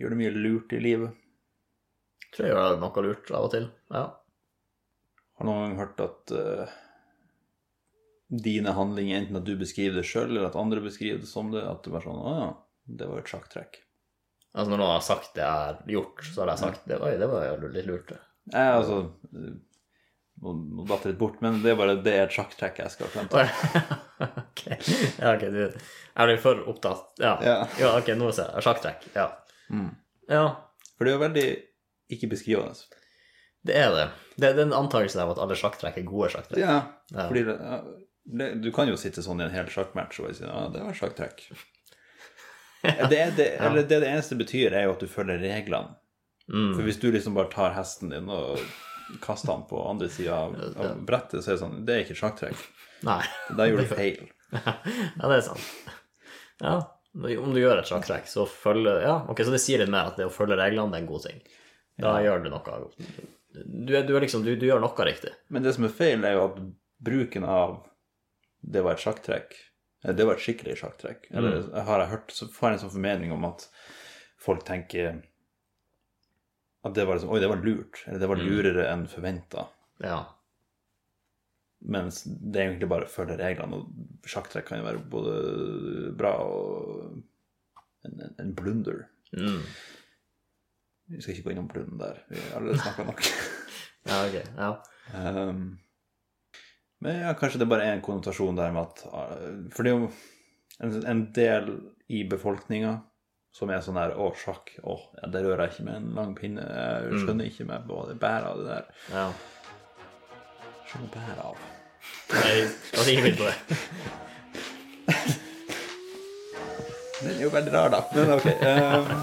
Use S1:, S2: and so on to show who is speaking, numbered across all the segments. S1: Gjør det mye lurt i livet.
S2: Tror jeg gjør noe lurt av og til. Ja.
S1: Har noen gang hørt at eh, dine handlinger, enten at du beskriver det sjøl, eller at andre beskriver det som det, at det bare sånn Å ja, det var jo et sjakktrekk.
S2: Altså når noen har sagt det jeg har gjort, så har jeg sagt det. Oi, det var jo litt lurt. det.
S1: Nei, altså eh, Nå, nå datt jeg litt bort, men det er bare det er et sjakktrekk jeg skal frem til.
S2: Oi. ok. Ja, ok, du. Jeg blir for opptatt. Ja. ja.
S1: Ja.
S2: ok, nå ser jeg. Sjakktrekk. Ja.
S1: Mm.
S2: ja,
S1: For det er jo veldig ikke beskrivende.
S2: det er det. Det det er en antakelse om at alle sjakktrekk er gode sjakktrekk.
S1: Ja,
S2: Ja.
S1: fordi det, ja, det, Du kan jo sitte sånn i en hel sjakkmatch og si ja, det var sjakktrekk. Det, er det, eller det det eneste betyr, er jo at du følger reglene. For
S2: Mm.
S1: hvis du liksom bare tar hesten din og kaster den på andre sida av, av brettet, så er det sånn Det er ikke sjakktrekk.
S2: Nei.
S1: Da gjør du feil.
S2: ja, det er sant. Ja, om du gjør et sjakktrekk, så følger Ja, ok, så det sier litt mer at det å følge reglene det er en god ting. Da gjør du noe Du, er, du, er liksom, du, du gjør noe riktig.
S1: Men det som er feil, er jo at bruken av 'det var et sjakktrekk' eh, Det var et skikkelig sjakktrekk. Eller har jeg hørt, så får jeg en sånn formening om at folk tenker at det var liksom Oi, det var lurt. Eller det var lurere enn forventa.
S2: Ja.
S1: Mens det er egentlig bare å følge reglene, og sjakktrekk kan jo være både bra og en, en, en blunder.
S2: Mm.
S1: Vi skal ikke gå innom blunden der. Vi har allerede snakka nok.
S2: Ja, ok. Ja.
S1: Ehm, men ja, kanskje det bare er en konnotasjon der med at eh, For det er jo en, en del i befolkninga som er sånn her Å, sjakk. Å, ja, det rører jeg ikke med en lang pinne. Jeg skjønner ikke meg hva det bærer av det der.
S2: ja.
S1: Skjønner bæret av.
S2: Nei, altså, la oss ikke begynne på det.
S1: Den er jo veldig rar, da. Men ok. ehm.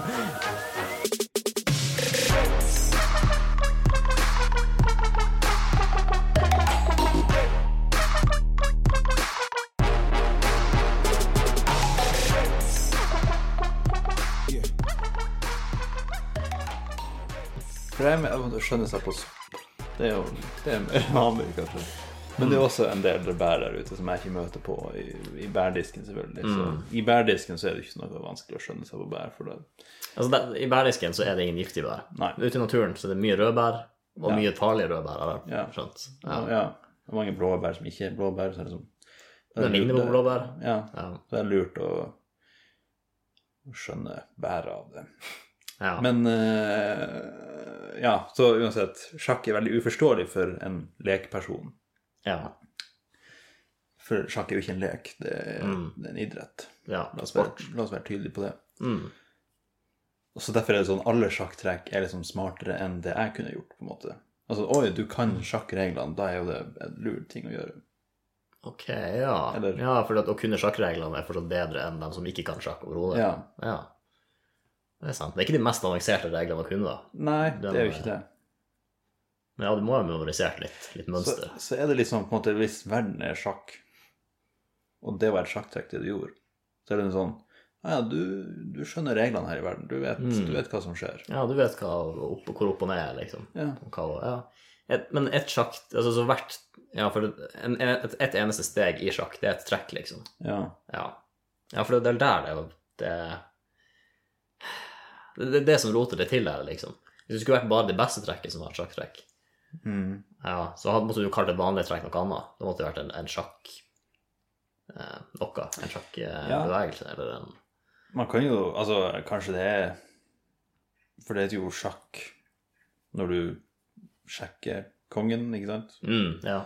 S1: For det er med å skjønne seg på sopp. Det er jo det er mer vanlig, kanskje. Men det
S2: Mm.
S1: er også en del bær der ute som jeg ikke møter på i, i bærdisken, selvfølgelig.
S2: Mm.
S1: Så I bærdisken så er det ikke noe vanskelig å skjønne seg på bær. For det.
S2: Altså, der, I bærdisken så er det ingen giftige bær.
S1: Nei.
S2: Ute i naturen så er det mye rødbær, og mye farlige rødbær, har jeg
S1: Ja.
S2: skjønt.
S1: Ja.
S2: Ja.
S1: det er mange blåbær som ikke er blåbær. Så er det sånn da er
S2: Den
S1: det
S2: ligner
S1: lurt-
S2: på blåbær.
S1: Ja.
S2: Ja.
S1: Så det er lurt å å skjønne bæret av det.
S2: ja.
S1: Men eh, ja, så uansett, sjakk er veldig uforståelig for en lekperson.
S2: ja.
S1: For sjakk er jo ikke en lek, det er,
S2: Mm.
S1: det er en idrett.
S2: ja.
S1: La oss, være, la oss være tydelige på det.
S2: Mm.
S1: Og så Derfor er det sånn alle sjakktrekk er liksom smartere enn det jeg kunne gjort. på en måte. Altså, Oi, du kan sjakkreglene, da er jo det en lur ting å gjøre.
S2: Ok, ja.
S1: Eller-
S2: Ja, for at å kunne sjakkreglene er fortsatt bedre enn dem som ikke kan sjakk overhodet.
S1: Ja.
S2: Ja. Det er sant. Det er ikke de mest avanserte reglene å kunne, da.
S1: Nei, det er jo ikke det.
S2: Men ja, du må ha memorisert litt, litt
S1: Så,
S2: mønster.
S1: så er det liksom på en måte hvis verden er sjakk, og det var et sjakktrekk det du gjorde, så er det en sånn Ja, ja, du, du skjønner reglene her i verden. Du vet, du vet hva som skjer.
S2: Ja, du vet hva opp, hvor opp og ned er, liksom.
S1: Ja.
S2: Og Hva, ja. Et, men ett sjakk Altså så hvert Ja, for det- en, et, et eneste steg i sjakk, det er et trekk, liksom.
S1: ja.
S2: Ja, ja for det er der det er jo det, det er det som roter det til her, liksom. Hvis det skulle vært bare det beste trekket som var et sjakktrekk,
S1: Mm.
S2: ja, så hadde, måtte du kalt et vanlig trekk noe annet. Da måtte det vært en, en sjakk eh, noe. En
S1: Ja.
S2: sjakkbevegelse eller en
S1: Man kan jo Altså, kanskje det er For det heter jo sjakk når du sjekker kongen, ikke sant?
S2: mm, Ja,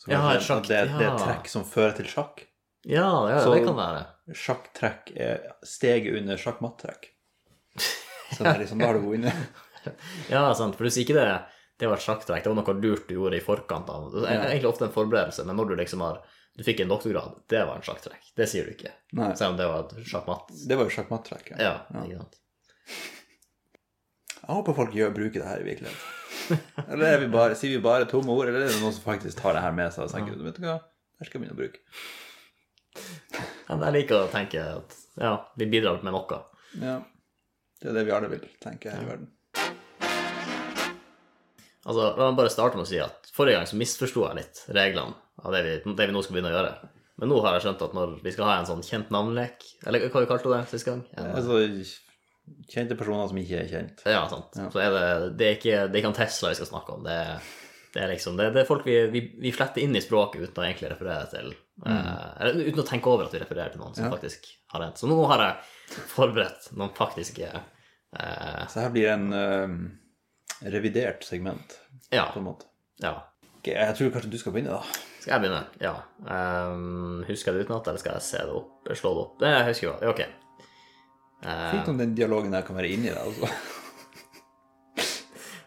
S1: Så
S2: Ja,
S1: kanskje
S2: et sjakk-
S1: at det, er- det er
S2: ja.
S1: et trekk som fører til sjakk.
S2: ja, ja
S1: Så-
S2: det kan være.
S1: Sjakktrekk er steget under sjakkmattrekk. Så det er liksom, da har du vunnet.
S2: Ja, sant, for du sier ikke det det var et sjakktrekk, det var noe lurt du gjorde i forkant av Det er egentlig ofte en forberedelse, men når du liksom har Du fikk en doktorgrad, det var en sjakktrekk. Det sier du ikke.
S1: Nei.
S2: Selv om det var et sjakkmatt.
S1: Det var jo sjakkmattrekk.
S2: Ja, ikke sant.
S1: Jeg håper folk gjør bruker det her i virkeligheten. Eller er vi bare, sier vi bare tomme ord, eller er det noen som faktisk tar det her med seg og tenker vet du hva, det her skal jeg begynne å bruke.
S2: Ja, men jeg liker å tenke at ja, vi bidrar med noe.
S1: Ja. Det er det vi alle vil, tenker jeg, her i verden.
S2: Altså, La meg bare starte med å si at forrige gang så misforsto jeg litt reglene av det vi, det vi nå skal begynne å gjøre. Men nå har jeg skjønt at når vi skal ha en sånn kjent navnlek Eller hva vi kalte det sist gang? En,
S1: Altså, kjente personer som ikke er kjent.
S2: Ja, sant. Så er det, det, er ikke, det er ikke han Tesla vi skal snakke om. Det er, det er liksom, det, det er folk vi, vi, vi fletter inn i språket uten å egentlig referere til eh, Eller uten å tenke over at vi refererer til noen som
S1: Mm. Ja.
S2: faktisk har rent. Så nå har jeg forberedt noen faktiske eh,
S1: Så her blir det en eh, revidert segment,
S2: ja,
S1: på en måte.
S2: ja.
S1: Ok, jeg tror kanskje du skal begynne, da.
S2: Skal jeg begynne? Ja. Eh, husker jeg det utenat, eller skal jeg se det opp? Slå det opp? Eh, Jeg husker jo. Ok. Eh,
S1: Fint om den dialogen her kan være inni deg, altså.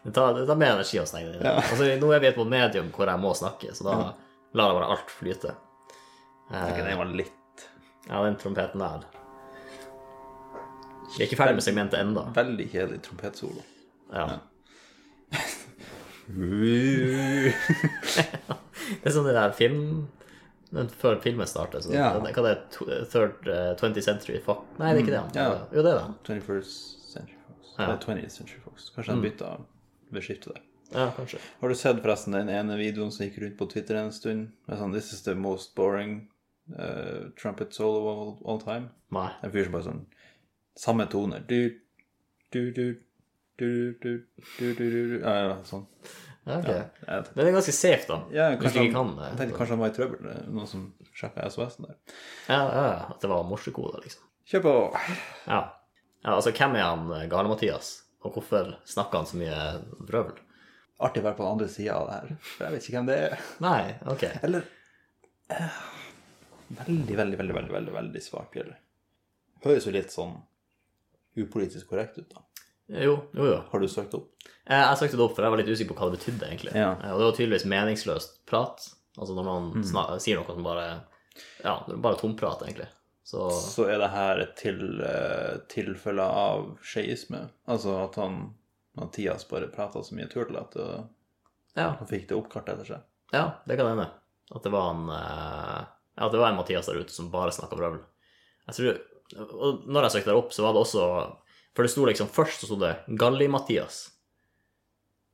S2: Det tar, det tar mer energi å snakke det inn.
S1: Ja.
S2: Altså, nå er vi på et medium hvor jeg må snakke, så da lar jeg bare alt flyte. Eh,
S1: Ok, den var litt
S2: Ja, den trompeten der. Vi er ikke ferdig med segmentet ennå.
S1: veldig kjedelig trompetsolo.
S2: Ja.
S1: ja,
S2: Det er sånn det der film men Før filmen starter, så
S1: Ja.
S2: Hva det er det? Third eh, 20th Century Fox? Nei, det er ikke det. han.
S1: Mm. ja.
S2: Jo, det er det. han.
S1: 21st Century Fox.
S2: Ja. Mm.
S1: Eller 20th Century Fox. Kanskje han bytta ved skiftet der.
S2: Ja, kanskje.
S1: Har du sett forresten den ene videoen som gikk rundt på Twitter en stund? Med sånn 'This is the most boring eh, trumpet solo of all, all time'.
S2: Nei.
S1: En fyr som bare sånn Samme toner. Du, du, du, du, du, du, du, du, du. Ja, ja, sånn.
S2: Ja, ok.
S1: Jeg tenkte-
S2: Men det er ganske safe, da.
S1: Ja,
S2: Hvis du
S1: kanskje
S2: ikke
S1: han,
S2: kan eh, det.
S1: jeg tenkte kanskje han var i trøbbel. det er Noen som sjekka SOS-en der.
S2: Ja, ja, ja, at det var morsekoder, liksom.
S1: Kjør på!
S2: Ja. ja. Altså, hvem er han Gale-Mathias? Og hvorfor snakker han så mye brøvel?
S1: Artig å være på den andre sida av det her. For jeg vet ikke hvem det er.
S2: Nei, ok.
S1: Eller eh, Veldig, veldig, veldig, veldig, veldig, veldig svakere. Høres jo litt sånn upolitisk korrekt ut, da.
S2: Jo, jo, jo.
S1: Har du søkt opp?
S2: Eh, Jeg søkte det opp, for jeg var litt usikker på hva det betydde, egentlig.
S1: Ja. Mm.
S2: Eh, Og det var tydeligvis meningsløst prat. Altså når man sna sier noe som bare Ja, det er bare tomprat, egentlig. Så
S1: Så er det her et til, eh, tilfelle av skeisme. Altså at han Mathias bare prata så mye turtle at eh,
S2: ja,
S1: han fikk det oppkartet etter seg.
S2: ja det kan hende. At det var en eh, Ja, at det var en Mathias der ute som bare snakka brøvel. Jeg tror Og når jeg søkte der opp, så var det også For det sto liksom Først så sto det Galli-Mathias.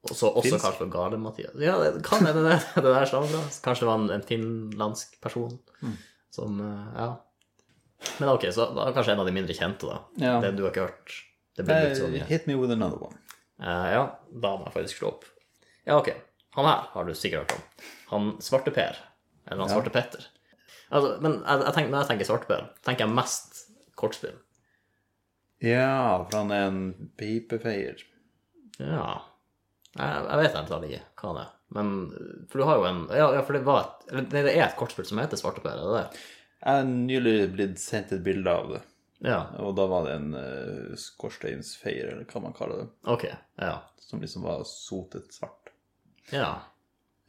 S2: Og så også
S1: Finsk?
S2: kalt for Gale-Mathias. Ja, det kan hende det, det der stammer fra. Kanskje det var en, en finlandsk person
S1: Mm.
S2: som eh, Ja. Men ok, så da er kanskje en av de mindre kjente, da.
S1: Ja.
S2: Det du har ikke hørt. Det blir litt sånn
S1: Eh, Hit me with another one.
S2: Eh, ja, da må jeg faktisk slå opp. Ja, ok. Han her har du sikkert hørt om. Han Svarte Per. Eller han
S1: Ja.
S2: Svarte Petter. Altså, men jeg, jeg tenker, når jeg tenker Svarte Per, tenker jeg mest kortspill.
S1: Ja, for han er en pipefeier.
S2: Ja. Jeg, jeg vet egentlig aldri hva han er. Men, for du har jo en Ja, ja, for det var et eller, Nei, det er et kortspill som heter Svarte Per, er det det?
S1: Jeg har nylig blitt sendt et bilde av det.
S2: Ja.
S1: Og da var det en uh, skorsteinsfeier, eller hva man kaller det,
S2: Ok. Ja.
S1: som liksom var sotet svart.
S2: ja.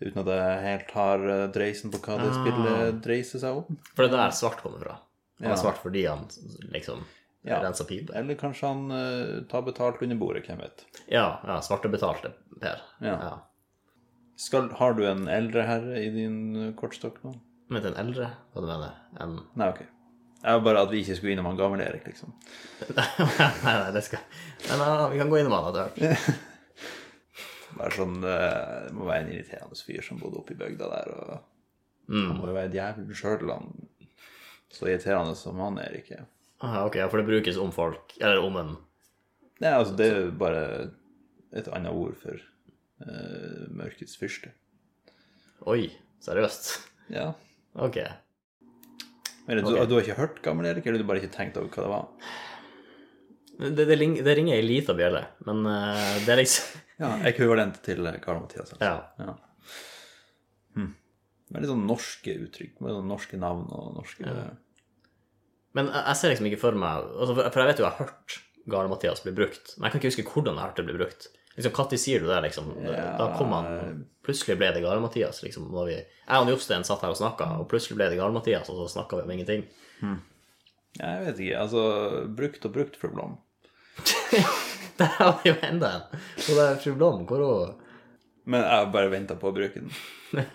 S1: Uten at jeg helt har eh, dreisen på hva det
S2: Ah.
S1: spillet dreiser seg om.
S2: For det er der svart kommer fra. Han
S1: Ja.
S2: er svart fordi han liksom
S1: Ja.
S2: renser pipe.
S1: Eller kanskje han eh, tar betalt under bordet, hvem vet.
S2: Ja. ja Svartebetalte Per.
S1: Ja.
S2: ja.
S1: Skal, har du en eldre herre i din eh, kortstokk nå?
S2: Men en eldre, hva du mener? En
S1: Nei, ok. Det var bare at vi ikke skulle innom han gamle Erik, liksom.
S2: nei, nei, det skal nei, nei, nei, Vi kan gå innom han etter hvert.
S1: Bare sånn, eh, Det må være en irriterende fyr som bodde oppe i bygda der. og Han må jo være djevelen sjøl, han. Så irriterende som han Erik er.
S2: Ah, Ok, ja, For det brukes om folk, eller om en
S1: Nei, altså, det er jo bare et annet ord for eh, mørkets fyrste.
S2: Oi, seriøst?
S1: Ja.
S2: Ok.
S1: Men du,
S2: Ok.
S1: du har ikke hørt gammel Erik, eller du har bare ikke tenkt over hva det var?
S2: Det, det, ling- det ringer ei lita bjelle, men eh, det er liksom
S1: Ja, Ekvivalent til Karl Mathias. Altså.
S2: Ja.
S1: Ja. Hm. Veldig sånn norske uttrykk, med sånn norske navn og norske
S2: Men jeg, jeg ser liksom ikke for meg altså, for, for jeg vet jo jeg har hørt Gale-Mathias bli brukt, men jeg kan ikke huske hvordan jeg har hørt det bli brukt. Liksom, Når sier du det, liksom?
S1: Ja.
S2: Da kom han Plutselig ble det Gale-Mathias, liksom. Når vi, jeg og Jostein satt her og snakka, og plutselig ble det Gale-Mathias, og så snakka vi om ingenting.
S1: Ja, Jeg vet ikke, altså Brukt og brukt for Blom.
S2: Der har vi jo enda en! Hun der fru Blom, hvor hun
S1: Men jeg har bare venta på å bruke den.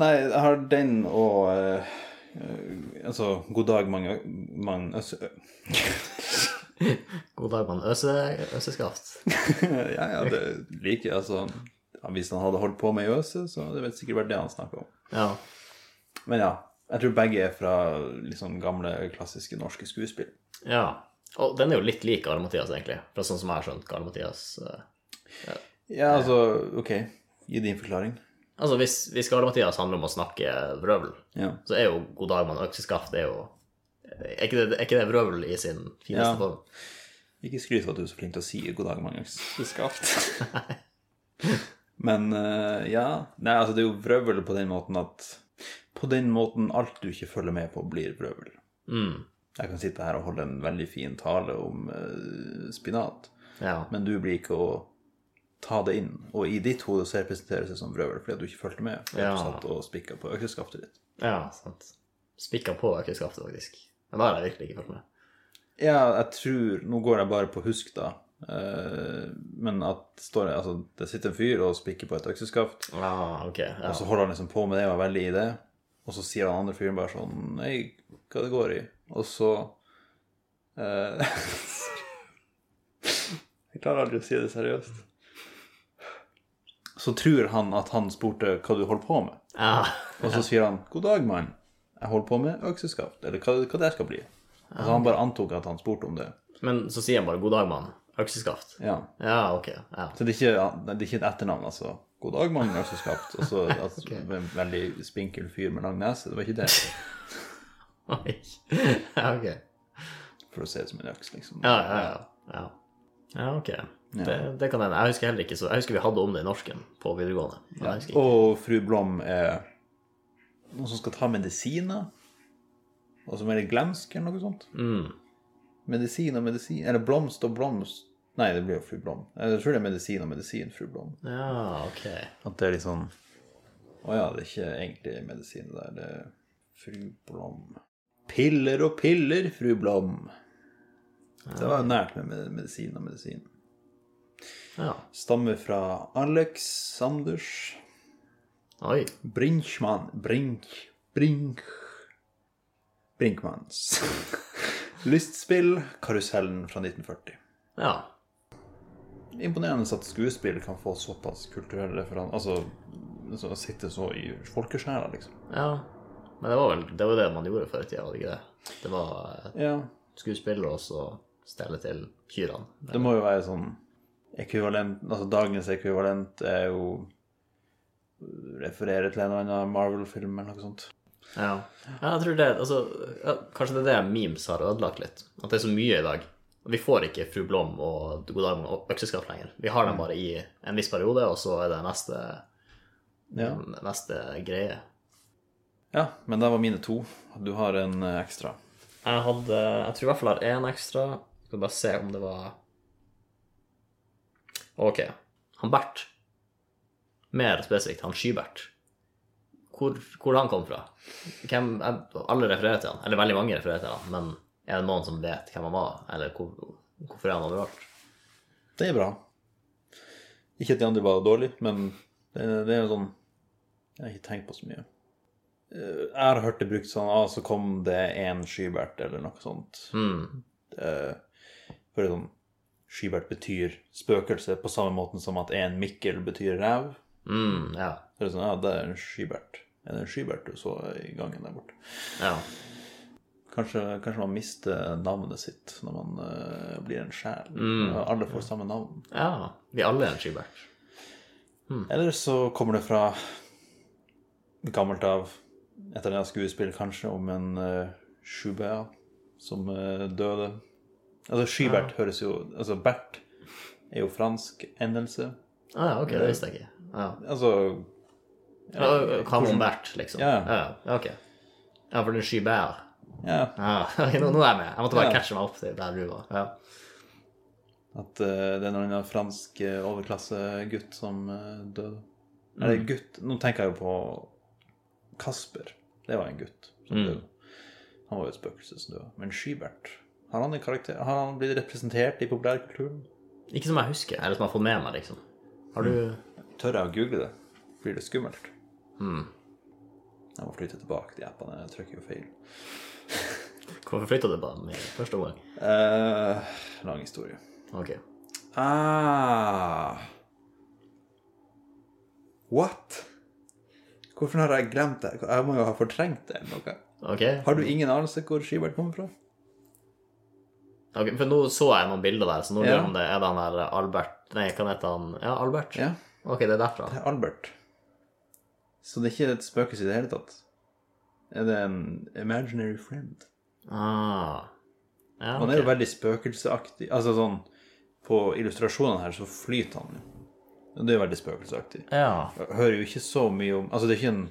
S1: Nei, jeg har den og eh, eh, Altså, God dag, mange, mange altså,
S2: God dag, mann. Øse, øseskaft.
S1: Ja, ja, det liker jeg. Altså, ja, hvis han hadde holdt på med Jøse, så hadde det vel sikkert vært det han snakka om.
S2: Ja.
S1: Men ja, jeg tror begge er fra liksom gamle, klassiske norske skuespill.
S2: ja. Og den er jo litt lik Arne-Mathias, egentlig, fra sånn som jeg har skjønt Arne-Mathias. eh,
S1: Ja, altså, OK. Gi din forklaring.
S2: Altså, hvis, hvis Arne-Mathias handler om å snakke vrøvl,
S1: Ja.
S2: så er jo God dag mann og økseskaft det er jo er ikke, det, er ikke det vrøvl i sin fineste
S1: Ja.
S2: form?
S1: Ikke skryt av at du er så flink til å si god dag, Magnus. Det skal alt. Men eh, ja Nei, altså, det er jo vrøvl på den måten at På den måten alt du ikke følger med på, blir vrøvl.
S2: Mm.
S1: Jeg kan sitte her og holde en veldig fin tale om eh, spinat,
S2: Ja.
S1: men du blir ikke å ta det inn. Og i ditt hode så representeres det som vrøvl fordi at du ikke fulgte med. Fordi at du
S2: Ja.
S1: satt og spikka på økeskaftet ditt.
S2: ja, sant. Spikka på økeskaftet, faktisk. Men da har jeg virkelig ikke fulgt med.
S1: Ja, jeg tror Nå går jeg bare på husk, da. Eh, men at står, det- altså, det sitter en fyr og spikker på et økseskaft.
S2: Ah, ok. Ja.
S1: Og så holder han liksom på med det og er veldig i det. Og så sier han andre fyren bare sånn Hei, hva det går i? Og så eh, Jeg klarer aldri å si det seriøst. Så tror han at han spurte hva du holder på med.
S2: Ja.
S1: Og så sier han 'God dag, mann. Jeg holder på med økseskaft.' Eller hva, hva det skal bli. Altså Han bare antok at han spurte om det.
S2: Men så sier han bare 'god dag, mann'. Økseskaft.
S1: Ja.
S2: Ja, ok. Ja.
S1: Så det er ikke, det er ikke et etternavn, altså. 'God dag, mann. Økseskaft.' Og så altså, en veldig spinkel fyr med lang nese. Det var ikke det.
S2: Oi. ja, ok.
S1: For å se det som en øks, liksom.
S2: Ja, ja, ja. Ja, ja ok. Det, det kan hende. Jeg husker heller ikke så Jeg husker vi hadde om det i norsken på videregående. Men jeg husker ikke.
S1: Og fru Blom er noen som skal ta medisiner, og som er litt glemsk, eller noe sånt.
S2: Mm.
S1: Medisin og medisin Eller blomst og blomst Nei, det blir jo fru Blom. Jeg tror det er medisin og medisin, fru Blom.
S2: Ja, ok.
S1: At det er litt sånn Å ja, det er ikke egentlig medisin det der, det er fru Blom. Piller og piller, fru Blom. Det var nært med med medisin og medisin.
S2: Ja.
S1: Stammer fra Alex Sanders
S2: Oi.
S1: Brinkmann Brink Brink Brinkmanns Lystspill Karusellen fra 1940
S2: Ja.
S1: Imponerende at skuespill kan få såpass kulturelle referanser Altså, altså å sitte så i folkesjæla liksom
S2: Ja. Men det var vel det, var det man gjorde før i tida, var det ikke det? Det var eh,
S1: Ja,
S2: skuespillere og så stelle til kyrne.
S1: det må jo være sånn Ekvivalent, altså dagens ekvivalent er jo Referere til en eller annen Marvel-film eller noe sånt
S2: Ja. ja, jeg tror det altså, ja, Kanskje det er det memes har ødelagt litt. At det er så mye i dag. Og Vi får ikke Fru Blom og God dag og Økseskaft lenger. Vi har dem bare i en viss periode, og så er det neste,
S1: Ja,
S2: neste greie.
S1: ja men det var mine to Du har en eh, ekstra
S2: Jeg hadde Jeg tror i hvert fall jeg har én ekstra. Skal bare se om det var Ok. Han Bert. Mer spesifikt, han Skybert. Hvor, hvor han kom fra? Hvem, jeg, alle refererer til han, eller veldig mange refererer til han, men er det noen som vet hvem han var, eller hvor, hvorfor er han overalt?
S1: Det er bra. Ikke at de andre var dårlige, men det, det er jo sånn Jeg har ikke tenkt på så mye. Eh, Jeg har hørt det brukt sånn ah, så kom det en Skybert, eller noe sånt.
S2: Hmm.
S1: Eh, For det er sånn Skybert betyr spøkelse på samme måten som at en Mikkel betyr ræv.
S2: Mm, ja.
S1: Så det er sånn, ja, det er en Skybert. Er det en Skybert du så i gangen der borte?
S2: ja.
S1: Kanskje, kanskje man mister navnet sitt når man eh, blir en sjel. Alle får samme navn.
S2: Ja. Vi alle er en Skybert.
S1: Eller så kommer det fra gammelt av et eller annet skuespill, kanskje, om en uh, Schubert som eh, døde. Altså, Skybert høres jo Altså, Bert er jo fransk endelse.
S2: Ah, ja, ok, det visste jeg ikke. Ja.
S1: Altså
S2: Ja, Hva med Bert, liksom?
S1: Ja.
S2: ja. ja, ok. Ja, for det er Skybert.
S1: Ja.
S2: Ah, ok, nå, nå er jeg med. Jeg måtte bare
S1: Ja.
S2: catche meg opp til der du var. Ja.
S1: At eh, det er en eller annen fransk eh, overklassegutt som eh, døde. Eller gutt Nå tenker jeg jo på Kasper. Det var en gutt som
S2: Mm.
S1: døde. Han var jo et spøkelse som døde. Men Skybert har han, en karakter, har han blitt representert i populærkulturen?
S2: Ikke som jeg husker, eller som jeg har fått med meg, liksom. Har du
S1: Tør jeg å google det? Blir det skummelt? Jeg må flytte tilbake de appene. Jeg trykker jo feil.
S2: Hvorfor flytta du på den i første gang?
S1: Eh, lang historie.
S2: Ok.
S1: Ah. What? Hvorfor har jeg glemt det? Jeg må jo ha fortrengt det eller noe.
S2: Ok.
S1: Har du ingen anelse hvor Skibert kommer fra?
S2: Ok, for nå så jeg noen bilder der, så nå lurer
S1: Ja.
S2: jeg om det er det han der Albert Nei, hva heter han? Ja, Albert?
S1: Ja,
S2: Ok, det er derfra.
S1: det er Albert. Så det er ikke et spøkelse i det hele tatt. Er det en imaginary friend?
S2: Ah. Ja,
S1: Han er jo
S2: ok.
S1: veldig spøkelseaktig. Altså sånn På illustrasjonene her så flyter han jo. Og Det er veldig spøkelseaktig.
S2: Ja.
S1: Jeg hører jo ikke så mye om Altså, det er ikke en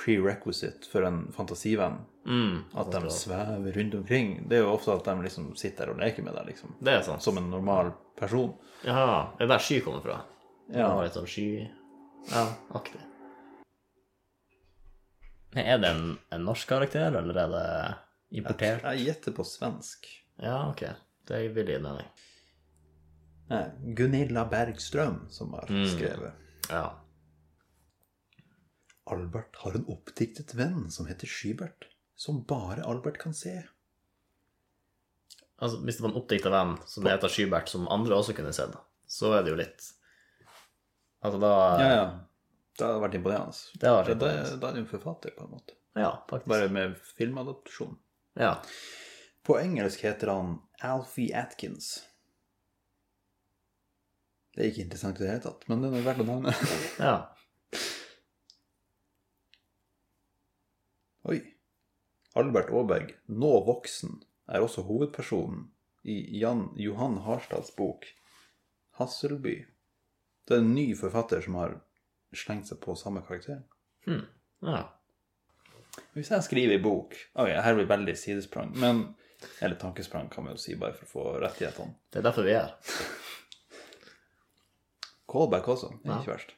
S1: prerequisite for en fantasivenn
S2: Mm.
S1: at de svever rundt omkring. Det er jo ofte at de liksom sitter der og leker med deg, liksom.
S2: Det er sant.
S1: Som en normal person.
S2: Ja, det er der sky kommer fra. Ja.
S1: Ja.
S2: Det var litt sånn sky... Ja, aktig. Men er det en, en norsk karakter, eller er det importert?
S1: Jeg gjetter på svensk.
S2: Ja, ok. Det vil gi mening.
S1: Nei, Gunilla Bergström som har
S2: Mm.
S1: skrevet
S2: Ja.
S1: Albert har en oppdiktet venn som heter Skybert, som bare Albert kan se.
S2: Altså, hvis det var en oppdikta venn som det heter Skybert, som andre også kunne sett, så er det jo litt Altså, da
S1: Ja, ja. Det hadde vært imponerende.
S2: Det hadde vært
S1: Da-
S2: imponerende.
S1: Da er det jo en forfatter, på en måte.
S2: Ja, faktisk.
S1: Bare med filmadopsjon.
S2: Ja.
S1: På engelsk heter han Alfie Atkins. Det er ikke interessant i det hele tatt, men den er verdt å nevne.
S2: ja.
S1: Oi. Albert Aaberg, nå voksen, er også hovedpersonen i Jan Johan Harstads bok 'Hasselby'. Det er en ny forfatter som har slengt seg på samme karakter.
S2: Hm. ja.
S1: Hvis jeg skriver i bok ok, Her blir veldig sidesprang, men Eller tankesprang, kan man jo si, bare for å få rettighetene.
S2: Det er derfor vi er her.
S1: Callback også. Det er
S2: Ja.
S1: ikke verst.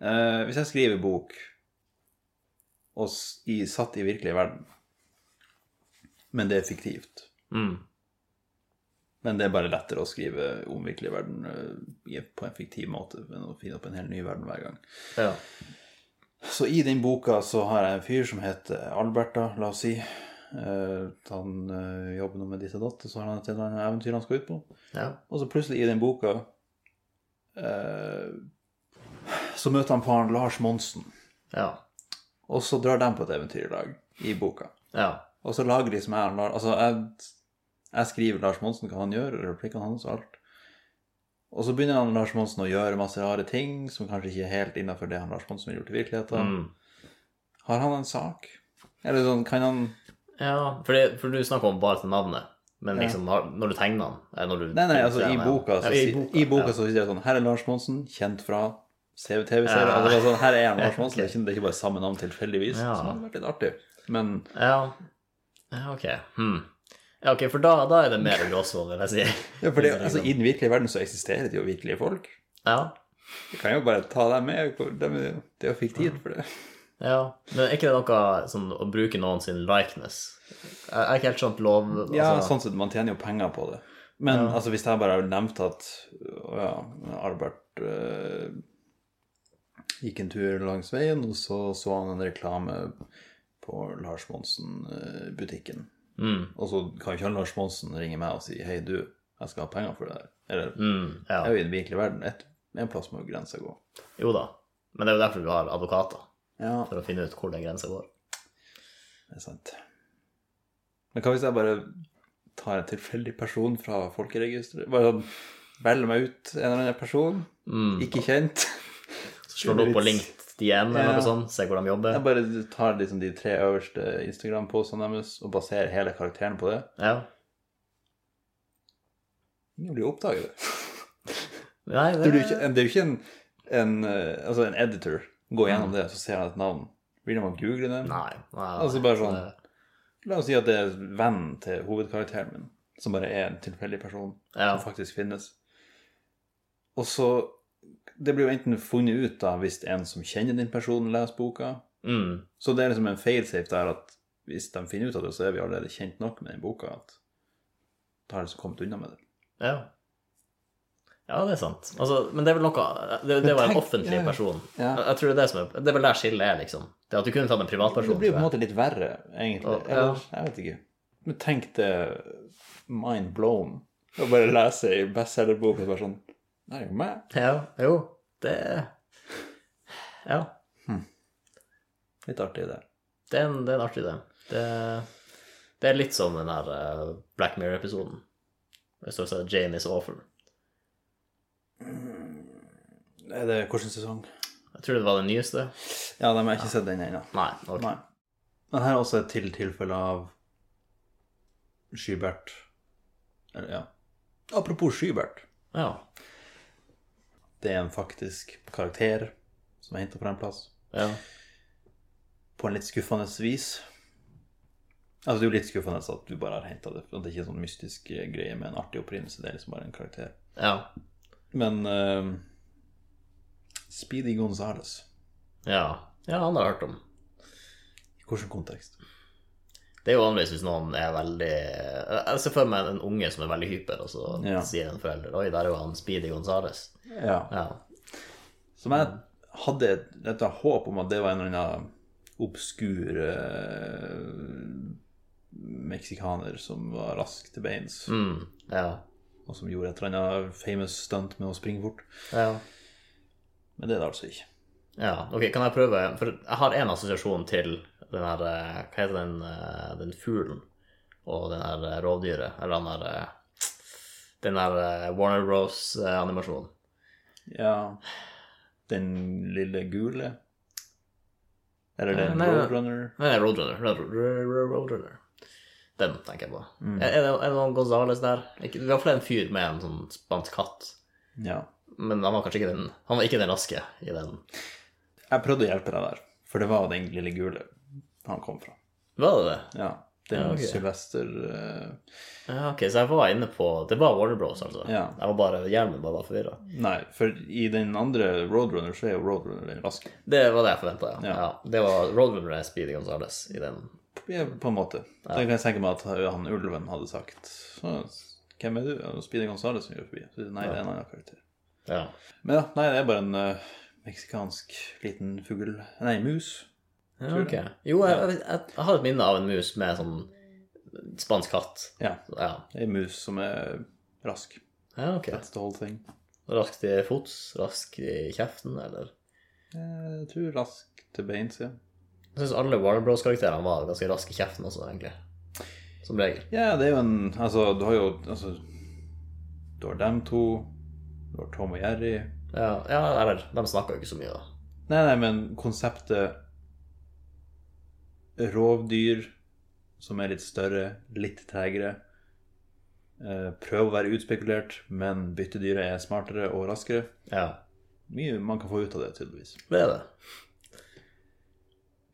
S1: Eh, hvis jeg skriver bok og s- i, satt i virkelig verden, men det er fiktivt
S2: Mm.
S1: Men det er bare lettere å skrive om virkelig verden eh, i- på en fiktiv måte enn å finne opp en hel ny verden hver gang.
S2: Ja.
S1: Så i den boka så har jeg en fyr som heter Alberta, la oss si. Eh, han eh, jobber nå med ditt og datt, og så har han et eller annet eventyr han skal ut på.
S2: ja.
S1: Og så plutselig i den boka eh, så møter han faren Lars Monsen.
S2: Ja.
S1: Og så drar de på et eventyr i lag i boka.
S2: Ja.
S1: Og så lager de som jeg har Altså, jeg, jeg skriver Lars Monsen hva han gjør, replikkene hans og alt. Og så begynner han Lars Monsen å gjøre masse rare ting som kanskje ikke er helt innafor det han Lars Monsen ville gjort i virkeligheten.
S2: Mm.
S1: Har han en sak? Eller sånn, kan han
S2: Ja, for, det, for du snakker om bare til navnet, men
S1: Ja.
S2: liksom har- når du tegner den eller når du,
S1: Nei, nei, altså i
S2: Ja,
S1: boka så,
S2: ja, i boka,
S1: i boka,
S2: ja.
S1: så sier det sånn Her er Lars Monsen, kjent fra CV-TV-serien.
S2: Ja.
S1: Altså, det er sånn, her er han Lars Monsen. Det er ikke- Det er ikke bare samme navn tilfeldigvis.
S2: Ja.
S1: Så det hadde vært litt artig. Men
S2: Ja, ja ok. Hmm. Ja, ok, for da, da er det mer gråsvål, vil jeg si.
S1: ja, for det, altså, i den virkelige verden så eksisterer det jo virkelige folk.
S2: Ja,
S1: Vi kan jo bare ta dem med. hvor- dem er jo- Det er jo fiktivt for det.
S2: ja. Men er ikke det noe sånn å bruke noen sin likeness? Jeg jeg er ikke helt skjønt lov... Altså,
S1: Ja, sånn sett, man tjener jo penger på det. Men altså, hvis jeg bare hadde nevnt at å ja, Albert eh, gikk en tur langs veien, og så så han en reklame på Lars Monsen-butikken.
S2: Mm,
S1: Og så kan jo ikke han Lars Monsen ringe meg og si 'Hei, du, jeg skal ha penger for det der'. Eller
S2: mm,
S1: det
S2: ja.
S1: er jo i den virkelige verden. Et, en plass må jo grensa gå.
S2: Jo da, men det er jo derfor vi har advokater,
S1: Ja,
S2: for å finne ut hvor den grensen går.
S1: det er sant. Men hva hvis jeg bare tar en tilfeldig person fra folkeregisteret? Bare sånn, velger meg ut en eller annen person?
S2: Mm.
S1: Ikke kjent.
S2: Så slår du opp på LinkedIn eller
S1: Ja.
S2: noe sånt, se hvor de jobber.
S1: Jeg bare tar liksom de tre øverste Instagram-postene deres og baserer hele karakteren på det.
S2: Ja.
S1: Ingen blir oppdaget.
S2: Nei,
S1: Det er jo ikke, det er jo ikke en, en, eh, altså en editor. Gå gjennom det, så ser han et navn. Begynner man å google det?
S2: Nei, nei, nei.
S1: Altså bare sånn,
S2: Det-
S1: La oss si at det er vennen til hovedkarakteren min, som bare er en tilfeldig person
S2: Ja.
S1: som faktisk finnes. Og så Det blir jo enten funnet ut da hvis en som kjenner den personen, leser boka,
S2: Mm.
S1: Så det er liksom en failsafe der at hvis de finner ut av det, så er vi allerede kjent nok med den boka at da har de liksom kommet unna med det.
S2: Ja. ja, det er sant. Altså, men det er vel noe Det, det var en
S1: tenk-
S2: offentlig
S1: ja, ja.
S2: person.
S1: Ja.
S2: Jeg, jeg tror Det er det som er Det er vel der skillet er, liksom. Det at du kunne tatt en
S1: Det
S2: privatperson.
S1: blir jo på en
S2: tror
S1: måte
S2: jeg.
S1: litt verre, egentlig.
S2: Å, ja.
S1: Eller, jeg vet ikke. Men tenk det mind blown å bare lese i bestselgerbok og bare sånn Det er jo meg.
S2: Ja, jo, det Ja.
S1: Litt artig, det.
S2: Det er en, det er en artig idé. Det Det er litt som den der eh, Black Mirror-episoden. Det står sånn Jane is awful.
S1: Er det hvilken sesong?
S2: Jeg tror det var den nyeste.
S1: Ja, de har ikke sett den ennå.
S2: Nei. ok.
S1: Nei. Men her er også et til tilfelle av Skybert. Eller, ja. Apropos Skybert.
S2: Ja.
S1: Det er en faktisk karakter som er henta fra en plass.
S2: ja.
S1: På en litt skuffende vis. Altså, det er jo litt skuffende at du bare har henta det. At det ikke er sånn mystisk eh, greie med en artig opprinnelse. Det er liksom bare en karakter.
S2: Ja.
S1: Men eh, Speedy Gonzales.
S2: Ja. Ja, han har jeg hørt om.
S1: I hvilken kontekst?
S2: Det er jo vanligvis hvis noen er veldig Jeg ser for meg en unge som er veldig hyper, og så
S1: Ja.
S2: sier en forelder Oi, der er jo han Speedy Gonzales.
S1: Ja.
S2: Ja.
S1: Som jeg hadde et, et håp om at det var en eller annen obskur eh, meksikaner som var rask til beins,
S2: Mm. Ja.
S1: og som gjorde et eller annet famous stunt med å springe fort.
S2: ja.
S1: Men det er det altså ikke.
S2: Ja. Ok, kan jeg prøve For jeg har én assosiasjon til den her eh, Hva heter den, eh, den fuglen og den her eh, rovdyret? Eller den her eh, Den her eh, Warner eh, Bros.-animasjonen.
S1: Ja Den lille gule Eller den
S2: Nei, nei, nei.
S1: roadrunner
S2: Nei, Roadrunner. Ro- ro- ro- Roadrunner. Den tenker jeg på. Er, er, det, er det noen Gonzales der? Ikke, I hvert fall en fyr med en sånn spansk hatt.
S1: Ja.
S2: Men han var kanskje ikke den Han var ikke den raske i den.
S1: Jeg prøvde å hjelpe deg der, for det var den lille gule han kom fra.
S2: Var det det?
S1: Ja. Det er
S2: Ja, ok.
S1: Sylvester eh,
S2: Ja, ok, så jeg var inne på Det var Warner Bros, altså.
S1: Ja.
S2: Jeg var bare, Hjelmen bare var forvirra.
S1: Nei, for i den andre Roadrunner så er jo Roadrunner den raske.
S2: Det var det jeg forventa, ja.
S1: Ja.
S2: ja. Det var Roadrunner og Speedy Gonzales i den.
S1: Ja, på en måte. Så jeg kan tenke meg at eh, han ulven hadde sagt «Så, Hvem er du? Ja, Speedy Gonzales som gjør forbi. Så, nei, det er en annen karakter.
S2: Ja.
S1: Men ja, nei, det er bare en eh, meksikansk liten fugl Nei, mus.
S2: ja ok. Jo, jeg, jeg, jeg, jeg har et minne av en mus med sånn spansk hatt.
S1: Ja.
S2: Så, Ja,
S1: Det er en mus som er rask.
S2: ja ok.
S1: That's the whole thing.
S2: Rask til fots, rask i kjeften, eller
S1: Jeg tror rask til beins, ja.
S2: Jeg syns alle Warner Bros-karakterene var ganske raske i kjeften også, egentlig. Som regel.
S1: Ja, det er jo en Altså, du har jo altså, Du har dem to. Du har Tom og Jerry.
S2: Ja, ja eller De snakka jo ikke så mye, da.
S1: Nei, nei, men konseptet rovdyr som er litt større, litt tregere. eh, Prøv å være utspekulert, men byttedyret er smartere og raskere.
S2: Ja,
S1: Mye man kan få ut av det, tydeligvis.
S2: det er det.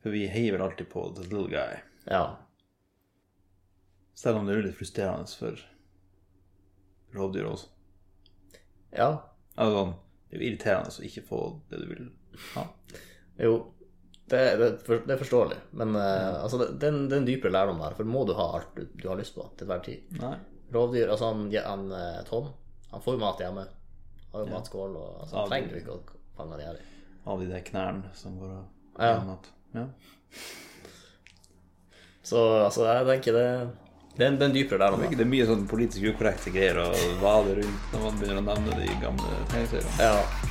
S1: For vi heier vel alltid på the little guy.
S2: Ja.
S1: Selv om det er litt frustrerende for rovdyr også.
S2: ja.
S1: Altså, sånn, det er jo irriterende å ikke få det du vil ha.
S2: Jo, det, det, for- det er forståelig. Men eh, altså, det, det, er en, det er en dypere lærdom der. For må du ha alt du, du har lyst på til hver tid?
S1: Nei.
S2: Rovdyr Altså, han, ja, han eh, Tom, han får jo mat hjemme. Har jo matskål, og altså,
S1: Ja,
S2: han trenger jo ikke å fange de her i.
S1: Av de der knærne som går og
S2: Ja.
S1: ja.
S2: Så altså, jeg tenker det Det er en, det er en dypere lærdom.
S1: Det er mye sånn politisk ukorrekte greier å vade rundt når man begynner å nevne de gamle tegneseriene.
S2: da. Ja.